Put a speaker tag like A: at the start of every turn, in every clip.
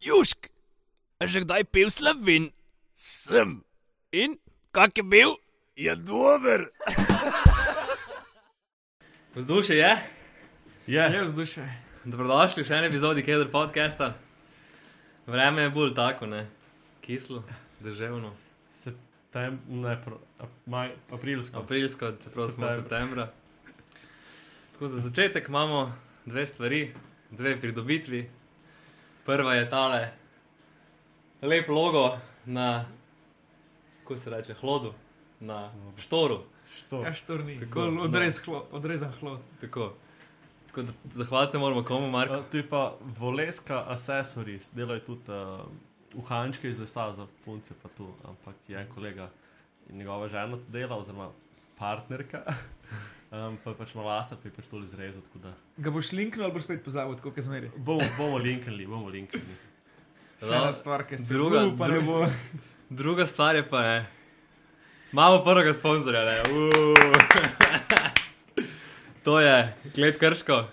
A: Južk, a že kdaj pil slovin? Sem. In kak je bil?
B: Je dober.
C: Vzdušje je,
B: Je.
A: vzdušje.
C: dobrodošli v še eni epizodi Kedr podcasta. Vreme je bolj tako, ne? Kislo, državno,
B: September, ne, pro, ap, maj, aprilsko.
C: aprilsko, čeprav smo
B: Septembra.
C: septembra. Tako za začetek imamo dve stvari, dve pridobitvi. Prva je tale, lep logo na, kako se reče, hlodu, na štoru.
B: Što?
D: Ja, štorni,
C: Tako,
D: Gol,
C: no.
D: odrez hlo, odrezan hlod.
C: Tako. Tako da zahvaliti se moramo komu, Marko.
B: A, Tu Eh, je pa voleska accessories, delajo tudi uh, uhančke iz lesa za punce, pa tu. Ampak je en kolega in njegova žena to dela, oziroma partnerka. Um, pa je pač malo lasa, pa je pač to izrezal. tako da
D: Ga boš linknil ali boš spet pozabil, kot zmeri.
B: Bomo, bomo linkali, bomo linkali.
D: Še ena stvar, ki se
C: druga-
D: Uu, pa ne
C: druga-
D: bo.
C: Druga stvar je pa je, imamo prvega sponzorja, ne. Uuu. to je Kled Krško,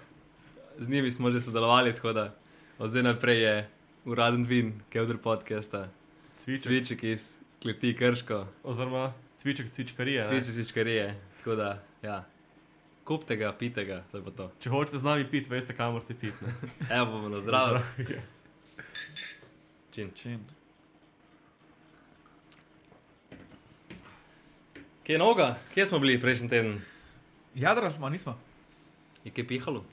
C: z njimi smo že sodelovali, tako da od zdaj naprej je uraden vin, Kevdr podcasta,
B: Cviček,
C: Cviček iz Kleti Krško,
B: oziroma cviček, cvičkarije. ne.
C: Cviček iz Čkarije, tako da, ja, kupte ga, pite ga, to je pa to.
B: Če hočete z nami pit, veste, kam morate pit. ne.
C: Evo bomo na zdravo. Čin.
D: Čin.
C: Kje je noga? Kje smo bili prejšnji teden?
D: Jadra smo, nismo.
C: Je kaj pihalo?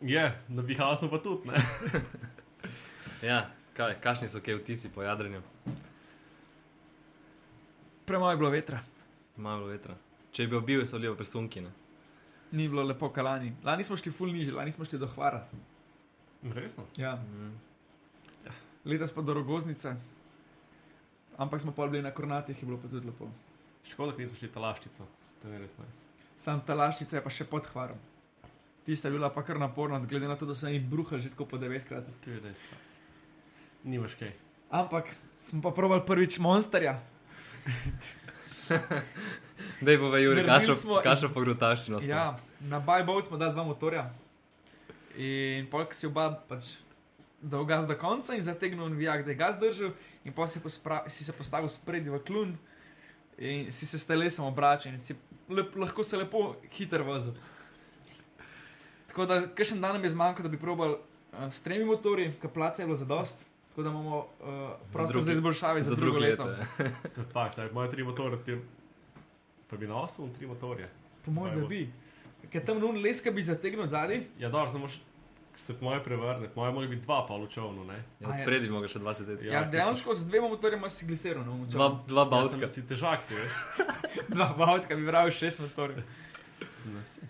B: Je, nabihali smo pa tudi, ne.
C: Ja, kaj, kakšni so kaj vtisi po jadranju?
D: Premalo je bilo vetra.
C: Malo vetra. Če bi obil, so bili pa presunki. Ne?
D: Ni bilo lepo kalani. Lani smo šli ful niže, lani smo šli do Hvara.
B: Resno.
D: Ja.
C: Mhm.
D: Letos pa do Rogoznice. Ampak smo pa bili na Kornatih, je bilo pa tudi lepo.
B: Škoda, ker nismo šli talaščico, to je res nice.
D: Sam Talaščica je pa še pod Hvarom. Tista je bila pa kar naporna, glede na to, da so jim bruhali že tako po devetkrat.
B: To je res. Nimaš kaj.
D: Ampak smo pa probali prvič monsterja.
C: Dej bova Juri,
D: Naredili
C: kakšno-
D: smo iz-
C: kakšno pogrutaščino smo.
D: Ja, na Bajbovcu smo dali dva motorja. In polk si oba pač dal gas do konca in zategnil vijak, da je gas držal, in pa si, pospra- si se postavil spredi v klun in si se s telesom obračal in si lep, lahko se lepo hiter vozil. Tako da, kakšen dan nam je zmanjkalo, da bi probal uh, s tremi motorji, kaplace je bilo zadost, tako da imamo uh, prostor
C: drugi-
D: za, za izboljšave za, za drugo leto. leto.
C: ja.
B: Se pa, zdaj imajo tri motorje, ti... pa bi nosil tri motorje.
D: Po mojem, da
B: Bajbov.
D: bi. Ker tam nun leska bi zategnil zadaj,
B: Ja, dobro, zdaj moraš se po moje prevrniti, po moje mora biti dva pa v čovnu, ne.
C: Ja, od Spredi mogo še 20 let.
B: Ja,
D: Ja,
B: ker
D: dejansko z dvema motorjema si gliseril, no, moče.
C: Dva, dva
B: Ja, sem
C: bavska.
B: si težak, si veš.
D: dva avtka bi vral šest motorjev.
B: Ne, si.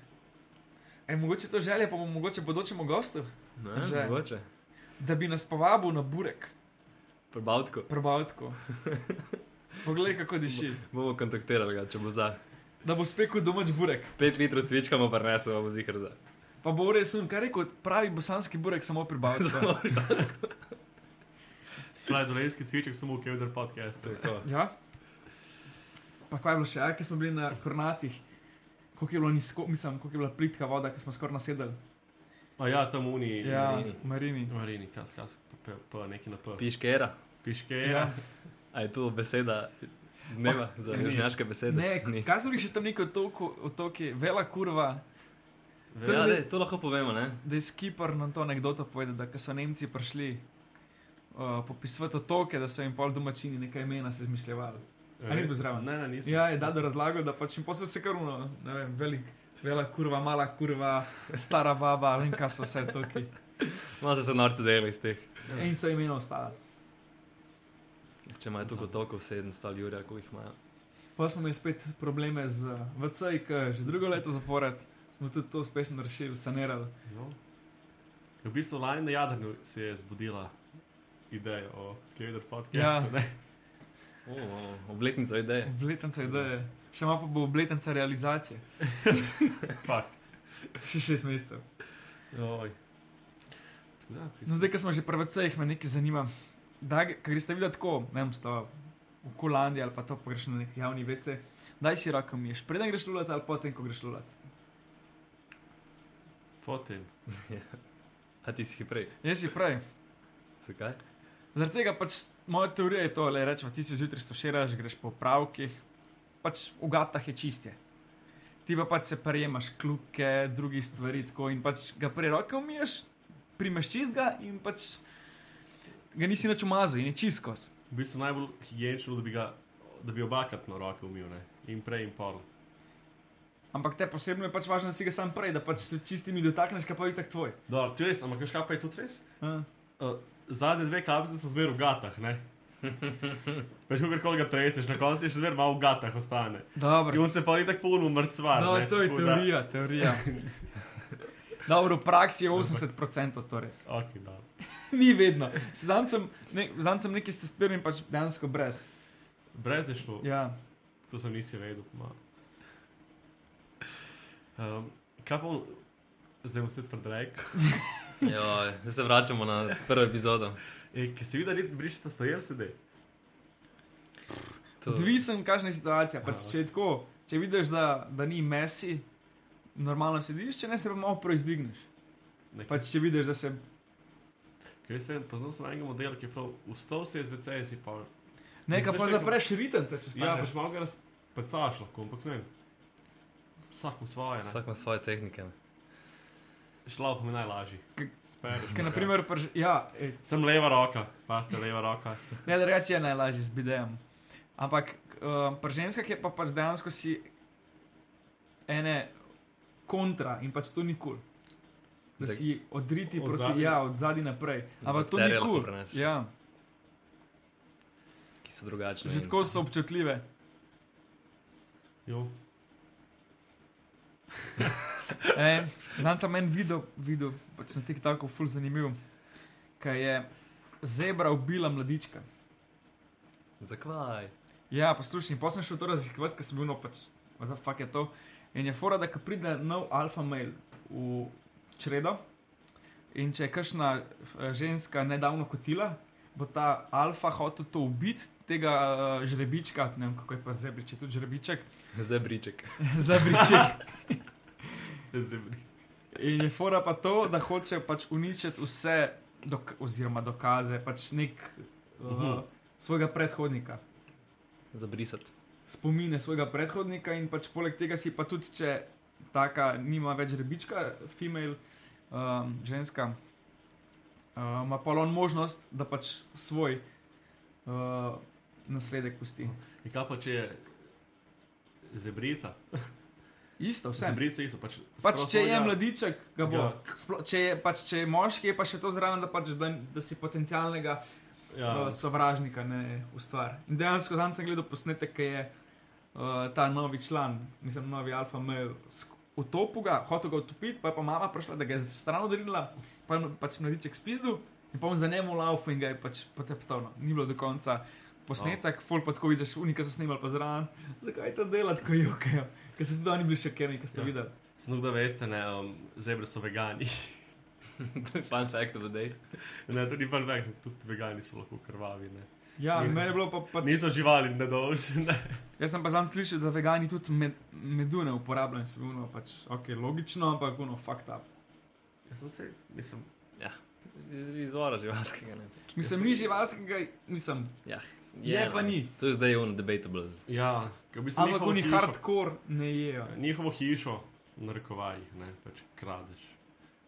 D: E, mogoče to želje, pa bomo mogoče bodočemu gostu,
C: Ne,
D: Že.
C: mogoče.
D: da bi nas povabil na burek,
C: Pri bavtku.
D: probavtko. Poglej, kako diši.
C: Bomo kontaktirali ga, če bo za.
D: Da bo spekel domač burek.
C: 5 litrov cvička mu prinesel, bomo zihar za.
D: Pa bo res un, kar rekel, pravi bosanski burek samo pri bavcu.
B: Tla je dolenski cviček, samo v Kevder podcastu.
C: Tako.
D: ja. Pa kaj je bilo še, ja, ker smo bili na Kornatih, koliko je bilo nizko, mislim, koliko je bila plitka voda, ki smo skoraj nasedali.
B: A ja, tam uni.
D: Ja,
C: Marini.
D: v Marini.
B: Marini, kas, kas, pa, pa neki na P.
C: Piškera.
B: Piške, ja.
D: Ja.
C: A je tu beseda dneva za
D: ni.
C: južnjaške besede?
D: Ne,
C: Ni.
D: kaj so bili še tam neki otoki, otoki, vela kurva.
B: Ve-
C: Ja, dej, to lahko povemo, ne?
D: da je skipper nam to anekdoto povedal, da ko so Nemci prišli uh, popisovati otoke, da so jim pol domačini nekaj imena se izmišljali. A ni bil zraven?
B: Ne, ne, nisem.
D: Ja, je da razlagal, da pač jim posel se karuno, ne vem, velik. Vela kurva, mala kurva, stara baba, ali kaj so vse toki.
C: Malo se se norce delali iz teh.
D: In so imena ostala.
C: Če imajo tu otokov 700 ali jurja, koliko jih imajo.
D: Pa smo imeli spet probleme z VC-ji, ki že drugo leto zapored smo tudi to uspešno rešili, sanirali.
B: No. Ja, V bistvu lani na Jadranu se je zbudila ideja o Kevder podcastu.
D: Ja.
B: Ja.
C: O, o, Obletnica ideje.
D: Obletnica ideje, še malo pa bo obletnica realizacije,
B: Fak.
D: še šest mesecev.
B: Oj. Tako da, pri-
D: No, zdaj, ko smo že pri vecejih, me nekaj zanima. Da, ker greš videti tako, ne vem, sta v Kolandiji ali pa to pogreš na neki javni vece, daj si roko miješ, preden greš lulat ali potem, ko greš lulat.
B: Potem.
C: A ti si jih prej.
D: Jaz si prej,
C: Zakaj?
D: Zaradi tega pač moja teorija je to, le rečemo, ti se zjutraj stoširaš, greš po pravkih, pač v gatah je čistje. Ti pa pač se prijemaš kljuke, drugih stvari, tako in pač ga prej roke umiješ, primeš čist ga in pač ga nisi več umazal in je čist kos.
B: V bistvu najbolj higienično, da bi, ga, da bi obakatno roke umil, ne? in prej in pol.
D: Ampak te posebno je pač važno, da si ga sam prej, da pač se čistimi dotakneš, kaj pa je tak tvoj.
B: Dobro, to je res, ampak veš kaj pa je tudi res?
D: Uh,
B: Uh, zadnje dve kapljice so zmeraj v gatah, ne? Veš, kako koli ga treceš, na koncu je še zmeraj malo v gatah ostane. In
D: dobro.
B: on se pa ni tako polno mrcvar.
D: No,
B: ne,
D: to je
B: tako da-
D: teorija, teorija. Dobro, v praksi je 80% to res.
B: Okej, dobro.
D: Ni vedno. Zanj sem, ne, zanj sem nekaj testiran, pač dejansko brez.
B: Brez je šlo, ja.
D: Ja.
B: to sem nisi vedel. pomalo. Um, kaj pa on- zdaj bom spet predrag?
C: Joj, zdaj se vračamo na prvo epizodo.
B: E, ki si videl, da brišete stojel sedaj.
C: To-
D: Odvisen, kakšna je situacija. Pač,
B: Aha.
D: če je tako, če vidiš, da, da ni mesi, normalno sediš, če ne se pa malo proizdigneš.
B: Nekaj-
D: Pač, če vidiš, da se.
B: Ker jaz sem poznal sem enega modela, ki je prav vstal se iz WC-ja in si pa.
D: Nekaj
B: Misliš,
D: pa
B: da-
D: zapreš ritence, če
B: Ja,
D: staneš.
B: pač malo ga razpecaš lahko, ampak ne. vem. Vsak mu svoje, ne.
C: Vsak ima svoje tehnike. ne.
B: Šla pa mi najlažji.
D: K-
B: Spereš.
D: Ker, na primer, prž... ja, ej,
B: Sem leva roka, paste leva roka.
D: ne, drugače je najlažje z bidejem. Ampak um, pri ženskah je pa pač dejansko si ene kontra in pač to ni kul. Cool. Da
C: Da-
D: si odriti
B: Od
D: od proti,
B: zadaj.
D: zadnji. ja, od zadaj naprej.
C: Da
D: Ampak to ni
C: bakterije lahko
D: kul. Cool.
C: preneseš.
D: Ja,
C: Ki so drugačni.
D: že tako so občutljive.
B: Jo.
D: E, Znam sem en video, video pač na TikToku, ful zanimiv, kaj je zebra ubila mladička.
C: Zakaj?
D: Ja, poslušaj, pa sem šel to raziskovati, ker sem bil no pač, what the fuck je to. In je fora, da ko pride nov alfa mail v čredo in če je kakšna eh, ženska nedavno kotila, bo ta alfa hotel to ubiti, tega eh, žrebička, ne vem kako je pa zebrič, je tudi žrebiček,
C: Zebriček.
D: zabriček.
B: Zemlji.
D: In je fora pa to, da hoče pač uničiti vse, dok oziroma dokaze, pač nek uh,
B: Mhm.
D: svojega predhodnika.
C: Zabrisati.
D: spomine svojega predhodnika in pač poleg tega si pa tudi, če taka nima več rebička, female, um, ženska, eh, ima um, pa on možnost, da pač svoj uh, nasledek pusti.
B: In kaj pa če je zebrica?
D: Isto, vse.
B: Zebrice isto, pač.
D: Pač,
B: skroz
D: če je
B: svojega-
D: mladiček, ga bo.
B: Ja.
D: Sploh, če, je, pač, če je moški, je pa še to zraven, da, pač, da, da si potencialnega
B: Ja,
D: uh, sovražnika ne ustvari. In dejansko znam sem gledal posnetek, ki je uh, ta novi član, mislim, novi alfa mail, utopil ga, hotel ga utopiti, pa je pa mama prišla, da ga je stran odrinila, pa je pač mladiček spizdil in pa on za njemu laufen in ga je pač poteptal. No. Ni bilo do konca. Posnetek, fol pa tako vidiš, unika so snimali pa zraven, zakaj to delati, ko jokajo. Ker so tudi oni bili šokirani, ko ste
B: Ja.
D: ja. videli.
B: snug da veste, ne, um, zebre so vegani.
C: to je fun fact of the day.
B: ne, to ni pa vegan, tudi vegani so lahko krvavi, ne.
D: Ja,
B: Niso-
D: meni je bilo pa pač.
B: Niso živali nedolžne.
D: Jaz sem pa zadnjič slišal, da vegani tudi med, medu ne uporabljajo, in sem uno, pač, ok, logično, ampak uno, fucked up.
B: Jaz sem se, mislim,
C: Iz izvora živalskega. Ne.
D: Mislim, ni živalskega, mislim,
C: Ja,
D: Je pa
C: ne.
D: ni.
C: To je zdaj un debatable.
B: ja, ki bi se
D: ampak
B: njihovo
D: oni
B: hišo-
D: hardcore ne jejo.
B: Njihovo hišo, narekovajih, ne, pač kradeš.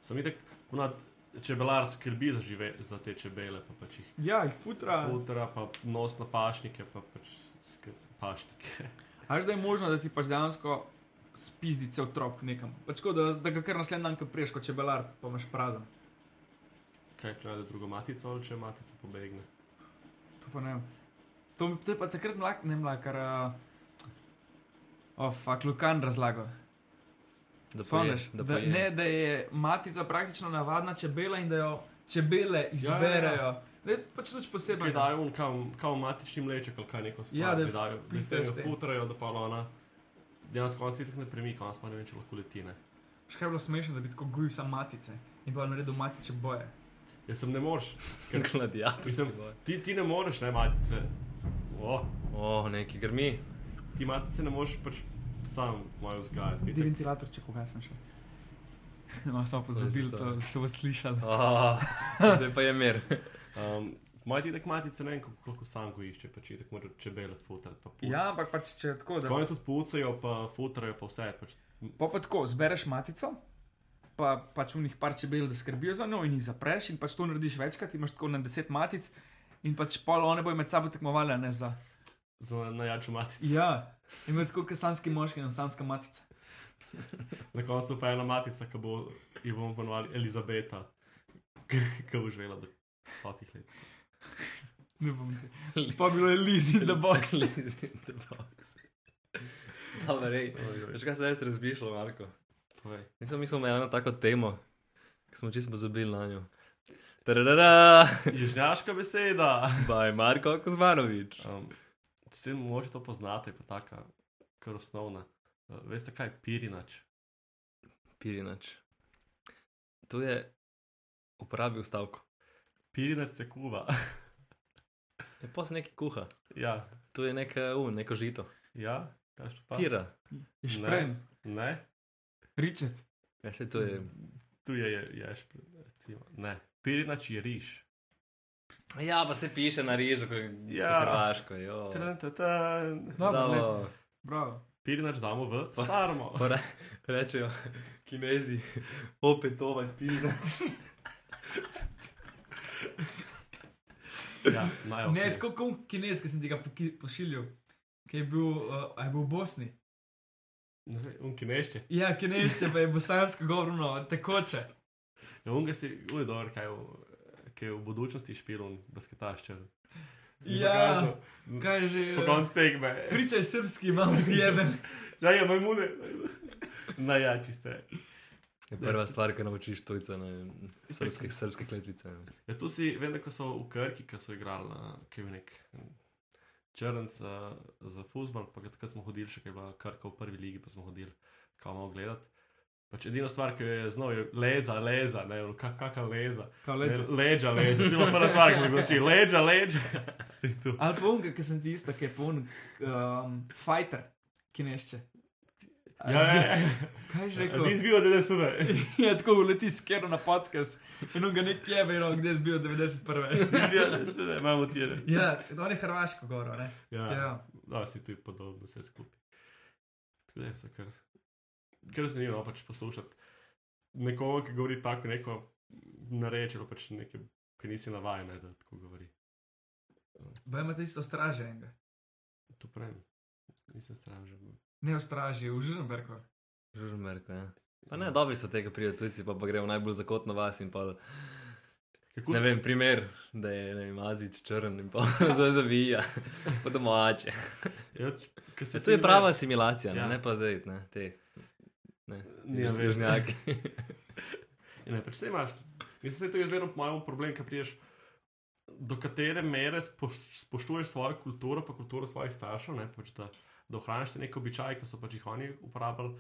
B: Sam itek, ponad čebelar skrbi za, žive, za te čebele, pa pač jih
D: Ja, jih futra.
B: futra, pa nos na pašnike, pa pač skrbi pašnike.
D: Až da je možno, da ti pač dejansko spizdi cel trop nekam. Pač kot da, da ga kar naslednji dan, ko priješ kot čebelar, pa imaš prazen.
B: Kaj krade drugo matico ali če matica pobegne?
D: To pa ne vem. To, to je pa takrat mlak, ne mlakar. Uh, Oh, fuck, Lukan razlagal.
C: Da
D: Spomniš,
C: poješ,
D: da, da, ne, da je matica praktično navadna čebela in da jo čebele izberejo. Ja, ja, ja. Da je pač nič
B: Kaj
D: posebnega.
B: dajo, on, kam, kam matični mleček ali kaj neko stvar,
D: Ja, da
B: da
D: je
B: jih dajo, da jih
D: pristajo s
B: tega
D: tem.
B: futrajo, da pa ona. Dejansko on se jih ne premika, on pa ne ve, če lahko leti. Ne.
D: Še kaj je bilo smešno, da bi tako gojil samo matice in pa naredil matiče boje.
B: Jaz sem ne moreš, ker
C: Gladiator.
B: Mislim- ti, ti ne moreš, ne matice. O,
C: O, neki grmi.
B: ti matice ne moreš pač sam mojo vzgajati. ker
D: Ti
B: itak-
D: ventilator, če pogasem še. No, smo pozabili
C: To je za to.
D: to, so vas slišali.
C: Oh, zdaj pa je mir.
B: Um, Moj dedek matice ne vem, kako- koliko sanko išče, pa če tako mora čebele futrati. Pa puc.
D: Ja, ampak pač če je tako, da
B: Oni tudi pucajo, pa futrajo, pa vse. Pač.
D: Pa, pa tako, zbereš matico, pa pač v njih par čebel, da skrbijo za njo in jih zapreš, in pač to narediš večkrat, imaš tako na deset matic, in pač pol one bojo med sabo tekmovali, a ne za.
B: Za najjačo matico.
D: Ja, in med tako kasanski moški, in sanska matica.
B: Na koncu pa je ena matica, ki bo, jo bomo ponovali Elizabeta, ki bo živela do stotih let.
D: Ne bom te. Pa bilo je Liz in the box.
C: Dobro, rej.
B: Oj, oj.
C: Veš, kaj se jaz razmišljam, Marko?
B: Povej.
C: Nisem mislil, da je ena tako tema, ki smo čisto zabili na njo. Tadadada!
B: Južnjaška beseda.
C: Baj, Marko Kozmanovič.
B: Um, Vsi moče to poznate, je pa taka, kar osnovna. Uh, veste kaj, je pirinač.
C: Pirinač. Tu je uporabil stavko.
B: Pirinač se kuva.
C: Je pa se nekaj kuha.
B: ja,
C: Tu je neka, uh, neko žito.
B: ja, kaj še pa?
C: Pira.
D: Špren,
B: Ne,
D: Richard.
C: Ja, se to je.
B: tu je, je, je špren. Ne, pirinač je riž.
C: Ja, pa se piše na rižu, kot
B: Ja.
C: ja. Hrvaško. jo.
B: Tran, tran, tran.
D: Dobro, lepo.
C: Bravo.
D: Bravo.
B: Pirinač damo v
C: Pa-
B: sarmo.
C: Pa Re, rečejo, kinezi, opet ovaj pirinač.
B: Ja, naj,
D: Okay. Ne,
B: okej.
D: tako kot kinez, ki sem ti ga poki- pošiljal, ki je bil, uh, a je bil v Bosni.
B: Ne vem, Unki mešče.
D: Ja, kinešče pa je bosansko govorno, tekoče.
B: Ja, unga si, uj, dobro, kaj je v- kaj je v budučnosti špil, un basketašče.
D: Ja. Kaj je že? eh,
B: Po koncu tekme.
D: Pričaj srpski, imam jeben.
B: Ja, ja, majmune. ja, Najjači ste.
C: Je prva stvar, ki naučiš tujca, ne, srpske, srpske kletvice.
B: Ja, tu si, vem, da ko so v Krki, ko so igrali, eh, ki je bil nek črnc eh, za futbol, pa ga takrat smo hodili, še kaj je bila Krka v prvi ligi, pa smo hodili, kam malo gledati. Pač edina stvar, ki jo je znal, je leza, leza, ne, kakšna leza.
D: Kao
B: Ne,
D: leče.
B: Leđa, leđa, to je bila prva stvar, ki sem jo naučil, leđa, leđa. Ti tu.
D: Ali pa unga, ki sem ti ista, ki je pun, um, fighter, ki nešče. A
B: Ja,
D: že-
B: ja, ja.
D: Kaj že
B: Ti si
D: rekel?
B: bil, da ne smeš.
D: Ja, tako uleti skero na podcast in unga nek jebe, no, kde je bil 91.
B: Imamo ti ene.
D: Ja, on je hrvaško govoro, ne?
B: Ja,
D: Ja.
B: no, si tu podobno vse skupaj. Tako da je se kar, kar zanimivo pač poslušati nekoga, ki govori tako neko narečilo, pač nekaj, ki nisi navajen, ne, da tako govori.
D: Baj imate isto straže enega.
B: To pravim, nisem stran že. bil.
D: Ne v straži, v Žužemberku.
C: Žužmerko, ja. Pa ne, dobri so tega prijo tujci, pa, pa grejo najbolj zakotno vas in pa,
B: Kako,
C: ne vem, primer, da je, ne vem, Azic črn in pa zelo zavija, po domače.
B: Ja, č- ko se
C: Se, to je
B: filme-
C: prava asimilacija, no,
B: Ja.
C: ne, ne pa zdaj, ne, te. Ne,
B: Ni res.
C: Južnjaki.
B: Ja, Ne, pač se imaš. Jaz se to izvedem, po mojem, problem, ki priješ, do katere mere spo- spoštuješ svojo kulturo, pa kulturo svojih staršev, ne, pač da, da ohraniš te neke običaje, ki so pač jih oni uporabljali,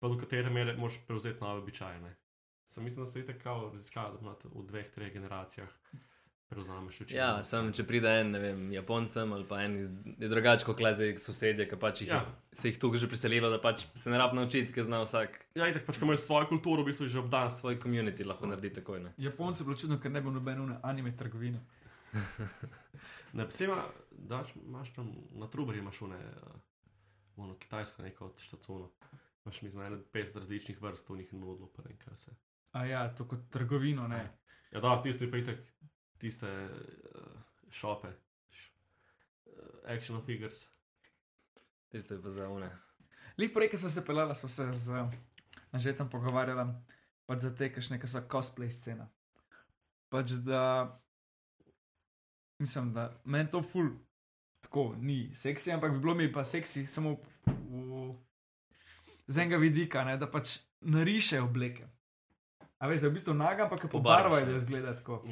B: pa do katere mere moš prevzeti nove običaje. Ne. Sam mislim, da se je tako raziskalo, da imate v dveh, treh generacijah prevzameš učenje.
C: Ja, sem, če pride en, ne vem, Japoncem ali pa en iz, je drugače kot kleze sosedje, ki pač jih,
B: Ja.
C: ja. se jih tukaj že preselilo, da pač se ne rabno naučiti, ker zna vsak
B: Ja, in tako pač, ko imaš svojo kulturo, v bistvu že obdan
C: svoj komunit lahko naredi takoj. Ne?
D: Japonci je bilo čudno, ker ne bo nobene une anime trgovine.
B: Ne, psema, daš, imaš tam na trubarju, imaš une, uh, ono kitajsko neko od štacono. Imaš mi znane 50 različnih vrst, unih nudlov, pa nekaj vse.
D: A ja, to kot trgovino, ne.
B: Ja, da, tiste pa itak, tiste uh, šope, š, uh, action figures.
C: Tisto je pa za une.
D: Lih prej, ko sem se pelala, smo se z eh, Anžetom pogovarjala, pač za te, kašne, ki so cosplay scena. Pač da, mislim, da meni to ful, tako ni seksi, ampak bi bilo mi pa seksi samo v, z enega vidika, ne, da pač narišejo obleke. A veš, da je v bistvu naga, ampak jo
C: Pobarvaš,
D: pobarvajo,
C: ja.
D: da izgleda tako.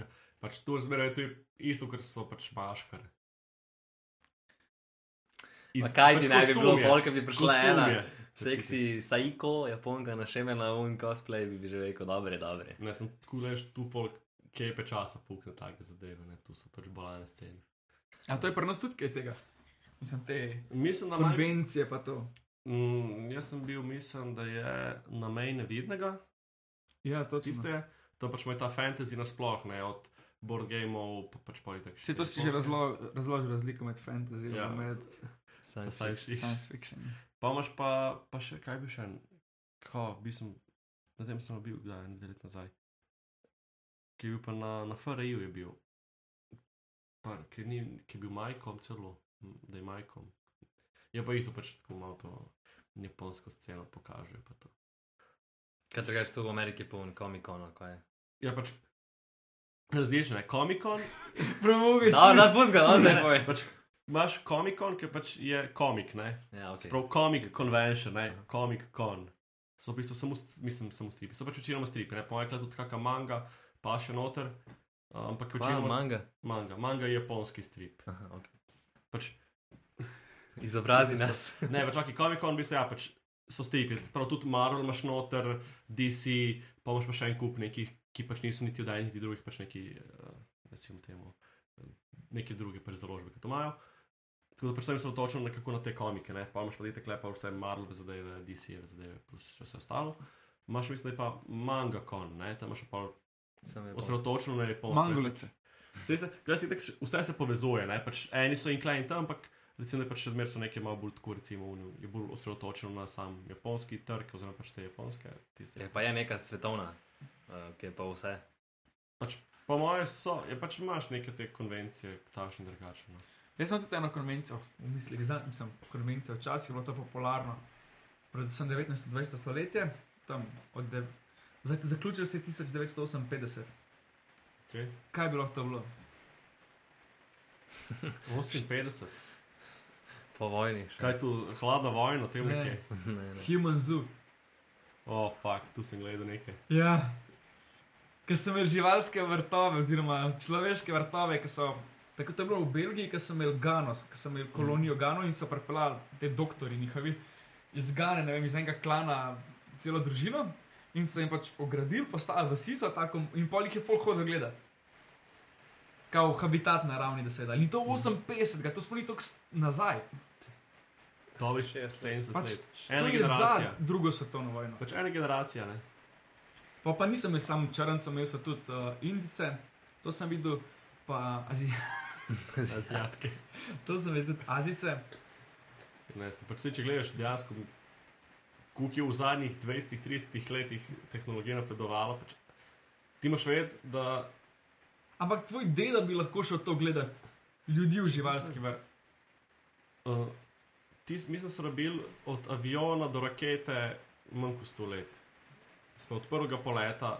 B: Pač to zmeraj to je isto, kar so pač maškare.
C: Pa kaj ti
B: pač
C: naj bi bilo,
B: kostum je,
C: polka bi prišla
B: kostum
C: ena
B: je.
C: seksi saiko, Japonka na šeme na un cosplay, bi, bi že rekel, dobre, dobre.
B: Ne, sem tako veš, tu folk, kje pa časa fukne take zadeve, ne, tu so pač balane scene.
D: A to je pri nas tudi kaj tega. Mislim, te
B: Mislim, da naj-
D: konvencije pa to.
B: Mm, jaz sem bil, mislim, da je na meji nevidnega,
D: Ja, točno.
B: tisto je, to pač ima ta fantasy nasploh, ne, od board gameov, pa pač pa je tako.
D: Se to si že razlo, razložil, razliko med fantasy in
B: Ja.
D: med
B: Science
C: Science
B: fiction.
D: science fiction.
B: Pa imaš pa, pa še kaj bi še en, ko bi sem, na tem sem bil, da en dve leti nazaj, ki je bil pa na, na FRU je bil, pa, ki, ni, ki je bil majkom celo, m, da je majkom. Je pa isto pač tako malo to japonsko sceno pokažejo. Pa to.
C: Kaj drugače to v Ameriki poln komikon ali kaj?
B: ja, pač različno je, komikon,
D: Premogi si.
C: Da, da, puzga, no, zdaj pove.
B: pač imaš komikon, ki pač je komik, ne.
C: Ja, okay.
B: Prav komik convention, ne, komik kon. So v bistvu samo, st- mislim, samo stripi, so pač večinoma stripi, ne, pomagaj tudi kakšna manga, pa še noter. Ampak
C: Kva,
B: večinoma s-
C: manga.
B: manga, manga je japonski strip.
C: Aha, okay.
B: Pač,
C: Izobrazi
B: Tisto-
C: nas.
B: ne, pač taki komik kon, v bistvu ja, pač so stripi, prav tudi Marvel imaš noter, DC, pa imaš pa še en kup nekih, ki pač niso niti od enih, niti drugih, pač neki, eh, recimo temu, eh, neke druge pač založbe, ki to imajo. Tako da predvsem se otočam nekako na te komike, ne? pa imaš pa te klepa vse Marvel zadeve, DC-jeve zadeve, plus še vse ostalo. Imaš mislim, da je pa manga kon, ne? tam imaš pa
C: Sem je bolj-
B: osredotočen na japonsko.
D: Mangolice.
B: Saj se- glej, saj tako še- Vse se povezuje, ne? pač eni so inklajni tam, ampak recimo, da je pač še zmeraj so neke malo bolj tako, recimo, oni je bolj osredotočen na sam japonski trg, oziroma pač te japonske. Tiste.
C: Ja, pa je neka svetovna, uh, ki je pa vse.
B: Pač, po mojem so, je pač imaš neke te konvencije, takšne in drugačne. no.
D: Jaz sem tudi eno konvencijo v mislih, zdaj sem konvencijo, včasih je bilo to popularno, predvsem 19-20 stoletje, tam od dev... Zak zaključil se je 1958.
B: Okay.
D: Kaj bi lahko to bilo?
B: 58.
C: Po vojni. še.
B: Kaj je tu, hladna vojna, tem
D: Ne.
B: nekaj?
C: Ne, ne.
D: Human zoo.
B: O, oh, fakt, tu sem gledal nekaj.
D: Ja. Ker so imeli živalske vrtove, oziroma človeške vrtove, ki so. Tako to je bilo v Belgiji, ki so imeli Gano, ki so imeli
B: Mhm.
D: kolonijo Gano in so pripeljali te doktori njihovi iz Gane, ne vem, iz enega klana, celo družino. In so jim pač ogradili, postavili vasico tako, in pol jih je folk hodil gledati. Kao habitat na ravni, da se da. Ni
B: Mhm.
D: to 58, to smo ni tako nazaj.
B: Dobri 70
D: Pač
B: let.
D: to
B: Ena
D: je za
B: generacija.
D: drugo svetovno vojno.
B: Pač ena generacija, ne?
D: Pa, pa nisem imel samo črncev, imel sem tudi uh, indice, to sem videl, pa azi, Ja.
B: Azijatke.
D: to sem videl tudi azice.
B: Ne, se pač saj, če gledaš dejansko, koliko je v zadnjih 20-30 letih tehnologija napredovala, pač, ti moš vedeti, da
D: Ampak tvoj deda bi lahko šel to gledati, ljudi v živalski vrt.
B: uh, ti, mi smo se rabili od aviona do rakete manj kot 100 let. Smo od prvega poleta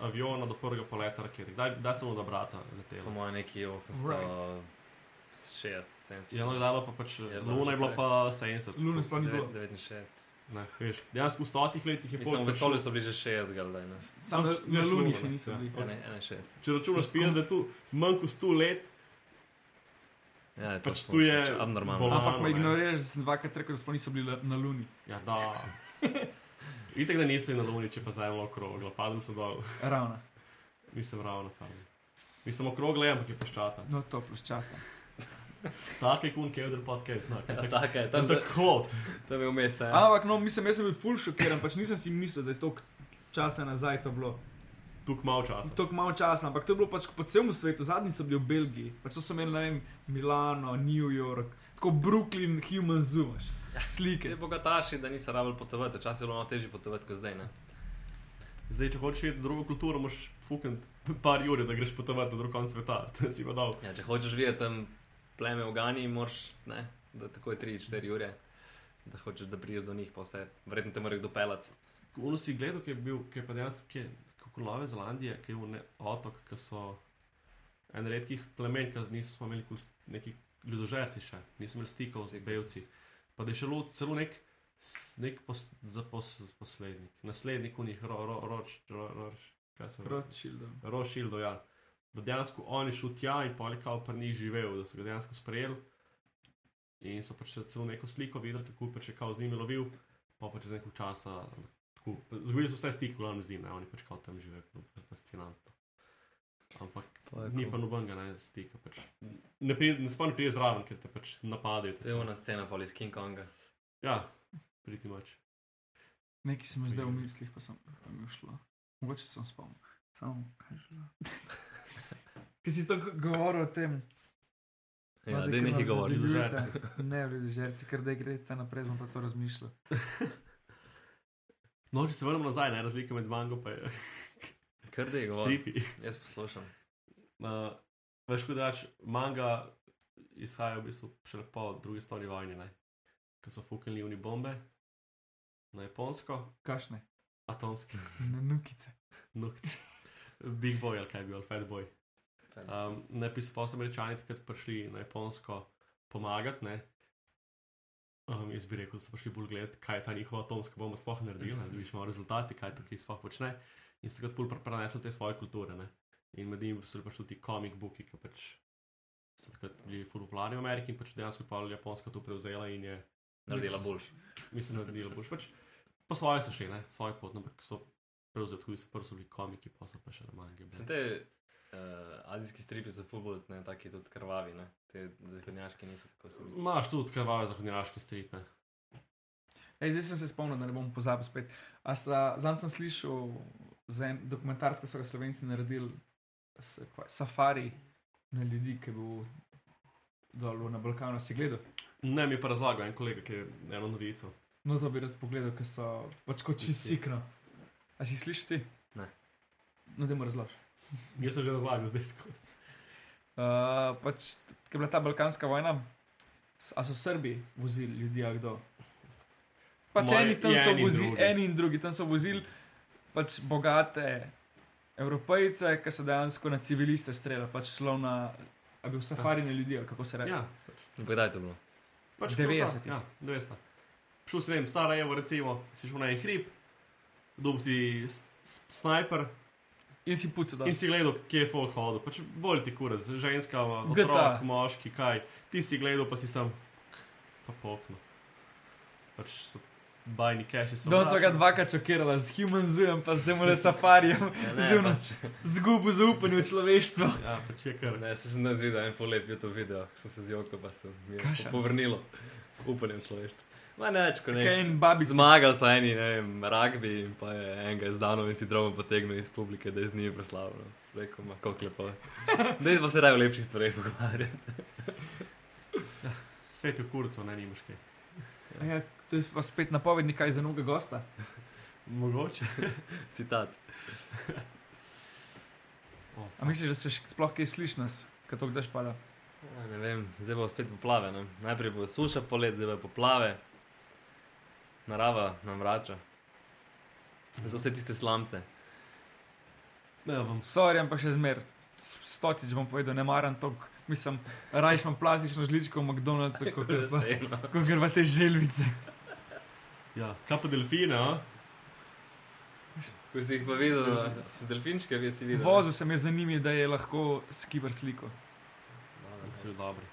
B: aviona do prvega poleta rakete. Kdaj, kdaj ste mu da brata
C: Po
B: leteli?
C: mojem neki 860,
D: Right.
C: 70.
B: Ja, no, kdaj pa pač
C: Je bilo
B: Luna
C: že
B: je bila
C: prej.
B: pa 70.
D: Lune sploh ni bilo.
C: 69.
B: Ne, veš, dejansko v stotih letih je pač
C: Mislim, v
B: folk
C: vesolju
B: prišel-
C: so bili že 60, ali ne?
D: Sam na,
B: Pač
D: na
B: nič
D: Luni
B: novega,
D: še
B: ne.
D: nisem
B: Ja.
D: bil.
C: Ja, ne, 61.
B: Če računaš, pije, da je tu manj kot 100 let,
C: Ja, je to
B: Pač
C: smo-
B: tu je
C: pač abnormalno.
B: bolj-
D: Ampak me
B: ne.
D: ignoriraš, da sem dvakrat rekel, da sploh niso bili la- na Luni.
B: Ja, da. Itek, da nisem na Luni, če pa zdaj malo okrogla, padel sem dol,
D: Ravno,
B: nisem ravno padel. Nisem okrogla, ampak je peščata.
D: no to ploščata.
B: Take kun, ki je odr podcast, znak.
C: Ja, Taka je, tam
B: Tam
C: je
B: tako hod.
C: tam je vmes. ja.
D: Ampak no, mislim, jaz sem bil full šokiran, pač nisem si mislil, da je to časa nazaj to bilo.
B: Tuk malo časa.
D: Tako malo časa, ampak to je bilo pač po celem svetu, zadnji so bili v Belgiji, pač to so imeli, ne vem, Milano, New York, tako Brooklyn, Human Zoo, imaš slike.
C: Ti bogataši, da niso rabili potovati, včasih je bilo malo težje potovati kot zdaj. Ne?
B: Zdaj, če hočeš videti drugo kulturo, moraš fukniti par ur, da greš potovati na drug konc sveta. To si pa dal.
C: Ja, če hočeš videti tam pleme v Gani, moraš ne, da takoj 3-4 ure, da hočeš, da priješ do njih, pa vse. Verjetno te mora kdo pelati.
B: Uno si gledal, ki je bil, ki je pa dejansko, ki je kot Nove Zelandije, ki je bil otok, ki so en redkih plemen, ki niso smo imeli kul s- neki ljudožerci še, nismo imeli stikov z
C: Stikov.
B: belci. Pa da je šlo celo nek, s- nek pos, zapos, poslednik, naslednik unih ro, ro, roč, ro, roč, kaj se
D: Rothschildom.
B: Rošildo, ja. Da dejansko on je šel tja in pa je kao pri njih živel, da so ga dejansko sprejeli. In so pač celo neko sliko videli, kako je pač je kao z njimi lovil, pa pač za nekaj časa. Tako, zgubili so vse stike, glavno z njim, ne, oni pač kao tam živijo, to je fascinantno. Ampak ni pa nobenega ne, stika, pač. ne, pride, ne spomni prije zraven, ker te pač napadejo.
C: To je ona scena, pa iz King Konga.
B: Ja, priti mač.
D: Nekaj sem zdaj v mislih, pa sem pa mi ušlo. Mogoče sem spomnil. Samo, kaj je bilo? ki si to govoril o tem.
C: Ja,
D: Mladi,
C: da
D: ki
C: nekaj
D: vam
C: govori.
D: nadaljujete. Ne, v žerci, ker da greste naprej, smo pa to razmišljali.
B: No, če se vrnemo nazaj, ne razlika med mango in
C: Kar da je govori.
B: stripi.
C: Jaz poslušam.
B: Uh, veš, kot daš, manga izhaja v bistvu še po drugi stvari vojni, ne? ko so fukali uni bombe na japonsko,
D: Kašne,
B: atomske
D: na nukice.
B: nukce. Big boy ali kaj bi bil, ali fat boy. Um, ne bi pa so američani takrat prišli na japonsko pomagati, ne. Um, jaz bi rekel, da so prišli bolj gledati, kaj je ta njihova atomska bomba sploh naredila, ne, da vidiš malo rezultati, kaj tukaj sploh počne. In so takrat pol pre- prenesli te svoje kulture. Ne. In med njimi so bili pač tudi komik buki, ki pač so takrat bili fuluplarni v Ameriki in pač dejansko pa Japonska to prevzela in je
C: Naredila boljši.
B: mislim, da naredila boš. Pač, po svoje so šli, ne, svoje pot, no, ampak so prevzeli tudi, so prvi so bili komiki, pa so pa še manjke.
C: Sem te uh, azijski stripi za futbol, ne taki tudi krvavi, ne. Te zahodnjaški niso tako se mi zdi.
B: Imaš tudi krvave zahodnjaške stripe.
D: Ej, zdaj sem se spomnil, da ne bom pozabil spet. A sta- Zanj sem slišal za en dokumentarc, ki so ga slovenci naredili, s- kva- safari na ljudi, ki je bil dol na Balkanu, si gledal.
B: Ne, mi je pa razlagal en kolega, ki je eno novico.
D: No, to bi rad pogledal, ker so pač kot čist sikno. A si slišal ti?
C: Ne.
D: No, da mu razloži.
B: Jaz sem že razlagal, zdaj skozi.
D: Uh, pač, ki je bila ta balkanska vojna, s- a so Srbi vozili ljudi, a kdo. Pač
B: Moje-
D: Moje, eni tam
B: je
D: so
B: en in
D: vozili,
B: drugi.
D: eni in drugi tam so vozili pač bogate evropejce, ki so dejansko na civiliste streljali, pač šlo na, a bil safari na ljudi, ali kako se reče.
B: Ja,
C: In pa kdaj je to bilo?
B: pač
D: 90-ih.
B: Ja, 90. Šel sem, ne vem, Sarajevo, recimo, si šel na en hrib, dobil si s- s- snajper
D: In si pucal, da
B: in si gledal, kje je folk hodil. Pač bolj ti kurac, ženska,
D: GTA.
B: otrok, moški, kaj. Ti si gledal, pa si sam, pa pokno. Pač so bajni keši.
D: Dom No, so ga dvakrat čokirala z Human Zoom, pa zdaj mu le safarijem,
C: Ja,
D: zdaj mu
C: pač,
D: zgubo zaupanje v človeštvo.
B: Ja, pač je kar.
C: Ne, se sem danes videl en full lep YouTube video, ko sem se zjokal, pa sem mi je
D: Kaša.
C: povrnilo upanjem človeštva. Ma neč, ko
D: Kaj
C: ne.
D: in babica.
C: Zmagal so eni, ne vem, ragbi in pa je enega z Danom in si drobo potegnil iz publike, da je z njimi proslavljal. Sem rekel, ma kako lepo. Dej pa se raje o lepših stvareh pogovarjati.
B: Svet je kurco, ne nimaš kaj.
D: Ja, to je pa spet napovednik, kaj za novega gosta.
B: Mogoče.
C: Citat.
B: O,
D: A misliš, da se še sploh kaj sliši nas, kaj to kdaj špada?
C: Ja, ne vem, zdaj bo spet poplave. Ne? Najprej bo suša polet, zdaj bo poplave. Narava nam vrača. Za vse tiste slamce.
B: Ne, bom
D: Sorry, ampak še zmer. s- Stotič bom povedal, ne maram to, mislim, rajš imam plastično žličko v McDonald'su, kot
C: Tako da
D: pa,
C: se eno.
D: ko gre pa te želvice.
B: Ja, kaj pa delfine, a?
C: Ko si jih pa videl, na- so delfinčke, vi si videl.
D: Vozil sem jaz za njimi, da je lahko skiber sliko.
B: Vsi dobri.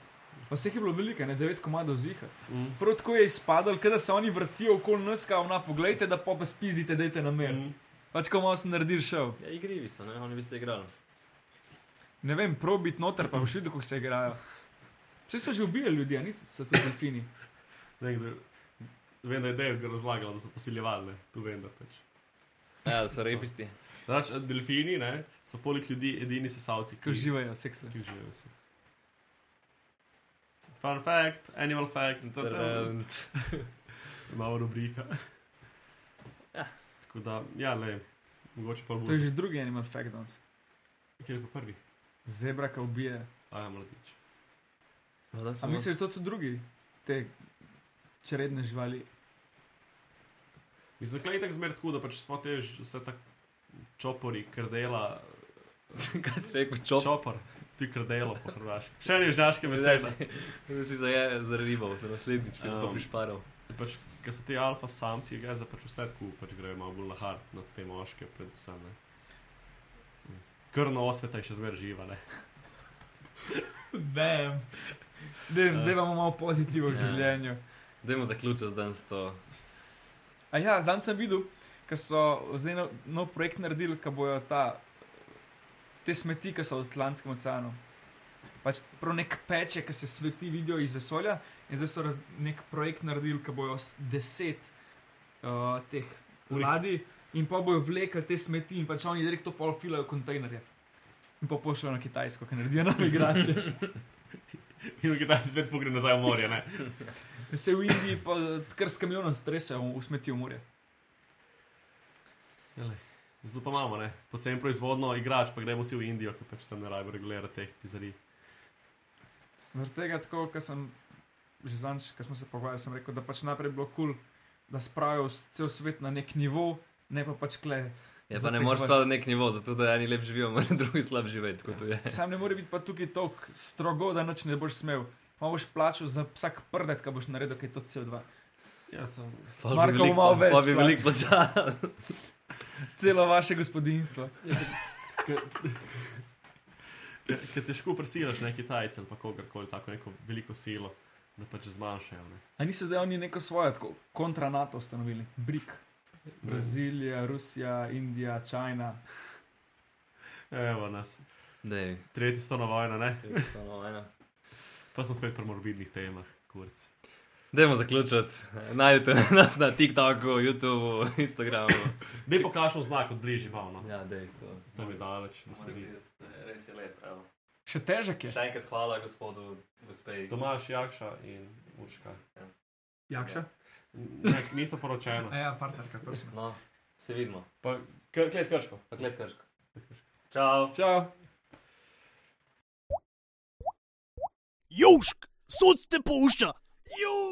D: Pa vseh je bilo veliko, ne devet komadov ziha.
B: Mm.
D: Prav tako je izpadal, kada se oni vrtijo okoli nas, kao na poglejte, da pa pa spizdite, dajte na
B: Mm.
D: mer.
B: Mhm.
D: Pač ko malo sem naredil šel.
C: Ja, igrivi so, ne? oni bi se igrali.
D: Ne vem, probit noter, pa boš videl, kako se igrajo. Vse so že ubijali ljudi, a ni so tudi delfini.
B: Ne, kdo, vem, da je Dave razlagal, da so posiljevali, ne, tu vem, da pač.
C: Ja, da so repisti.
B: Znaš, delfini ne, so poleg ljudi edini sesalci,
D: Ko uživajo seksa.
B: ki uživajo seks. Fun fact, animal fact, to je
C: Trrrrnt.
B: nova rubrika.
C: Ja.
B: Tako da, ja, le, mogoče pa bo.
D: To je že drugi animal fact danes.
B: Kje je pa prvi? ja,
D: Zebra, ki ubije.
B: Aja, mladič.
C: No, da
D: A
C: smo-
D: misliš, da to tudi drugi, te čredne živali?
B: Mislim, da je tako zmer tako, da pač smo te ž- vse tako čopori, krdela,
C: Kaj si rekel, čop?
B: čopor, ti krdelo po hrvaški. Še ne žaške besede.
C: Zdaj si zaje- zaribal, se naslednjič, ko
B: Um.
C: um. prišparal.
B: pač, ker so ti alfa samci, jaz da pač vse tako pač grejo malo bolj lahar na te moške, predvsem. Ne. Krno osveta je še zmeraj živa. Ne.
D: Damn. Dej,
B: Ja.
D: dej vam malo pozitiva v
C: Ja.
D: življenju.
C: Dajmo zaključiti dan s to.
D: A ja, zanj sem videl, ker so zdaj nov, nov projekt naredili, ki bojo ta, te smeti, ki so v Atlantskem oceanu. Pač prav nek peče, ki se sveti, vidijo iz vesolja. In zdaj so raz, nek projekt naredili, ki bojo s- deset uh, teh
B: Uri.
D: ladij in pa bojo vlekli te smeti in pač oni direktno pol filajo kontejnerje. in pa pošljajo na Kitajsko, ki naredijo nove igrače.
B: In Kitajci spet pogre nazaj v morje. Ne?
D: Se v Indiji pa kar s kamionom stresajo v smeti v morje.
B: Jele. Zato pa imamo, ne, poceni proizvodno igrač, pa gremo vsi v Indijo, ki pač tam ne rabijo regulirati teh pizzerij.
D: Zaradi tega, tako kot sem že zadnjič, ko smo se pogovarjali, sem rekel, da pač najprej bilo kul, cool, da spravijo s- cel svet na nek nivo, ne pa pač kle.
C: Ja,
D: Za
C: pa ne
D: tekmo-
C: moreš pa na nek nivo, zato da eni lep živijo, mora drugi slab živeti, kot to je.
D: Sam ne more biti pa tukaj tako strogo, da noč ne boš smel. Ma boš plačal za vsak prdec, ki boš naredil, kaj je to CO2.
B: Ja, sem.
C: Pa bi
D: Marko bo
C: veliko-
D: malo
C: Pa
D: več
C: bi veliko plačal.
D: Celo vaše gospodinstvo.
B: Ker težko prisilaš ne Kitajce ali pa kogarkoli tako neko veliko silo, da pač zmanjšajo. Ne.
D: A niso zdaj oni neko svoje, tako kontra NATO ustanovili, BRIC. Brazilija, Rusija, Indija, Čajna.
B: Evo nas,
C: Ne,
B: tretji stona vojna, ne?
C: to je samo ena.
B: Pa smo spet pri morbidnih temah, kurc.
C: Dajmo zaključiti. Najdete nas na TikToku, YouTubu, Instagramu.
B: Ne pokažemo znak od bližje, malo. No.
C: Ja, dej, to.
B: Tam je daleč, da se vidi.
C: Res je lepo. evo.
D: Še težek je.
C: Še enkrat hvala gospodu, gospej.
B: Tomaš, Jakša in Urška.
D: Jakša?
B: Ne, nista poročena.
D: Ja, partnerka, točno.
C: No, se vidimo.
B: Pa, kr, klet krško.
C: Pa klet krško. Čau.
D: Čau.
A: Južk, sod te pušča! Južk!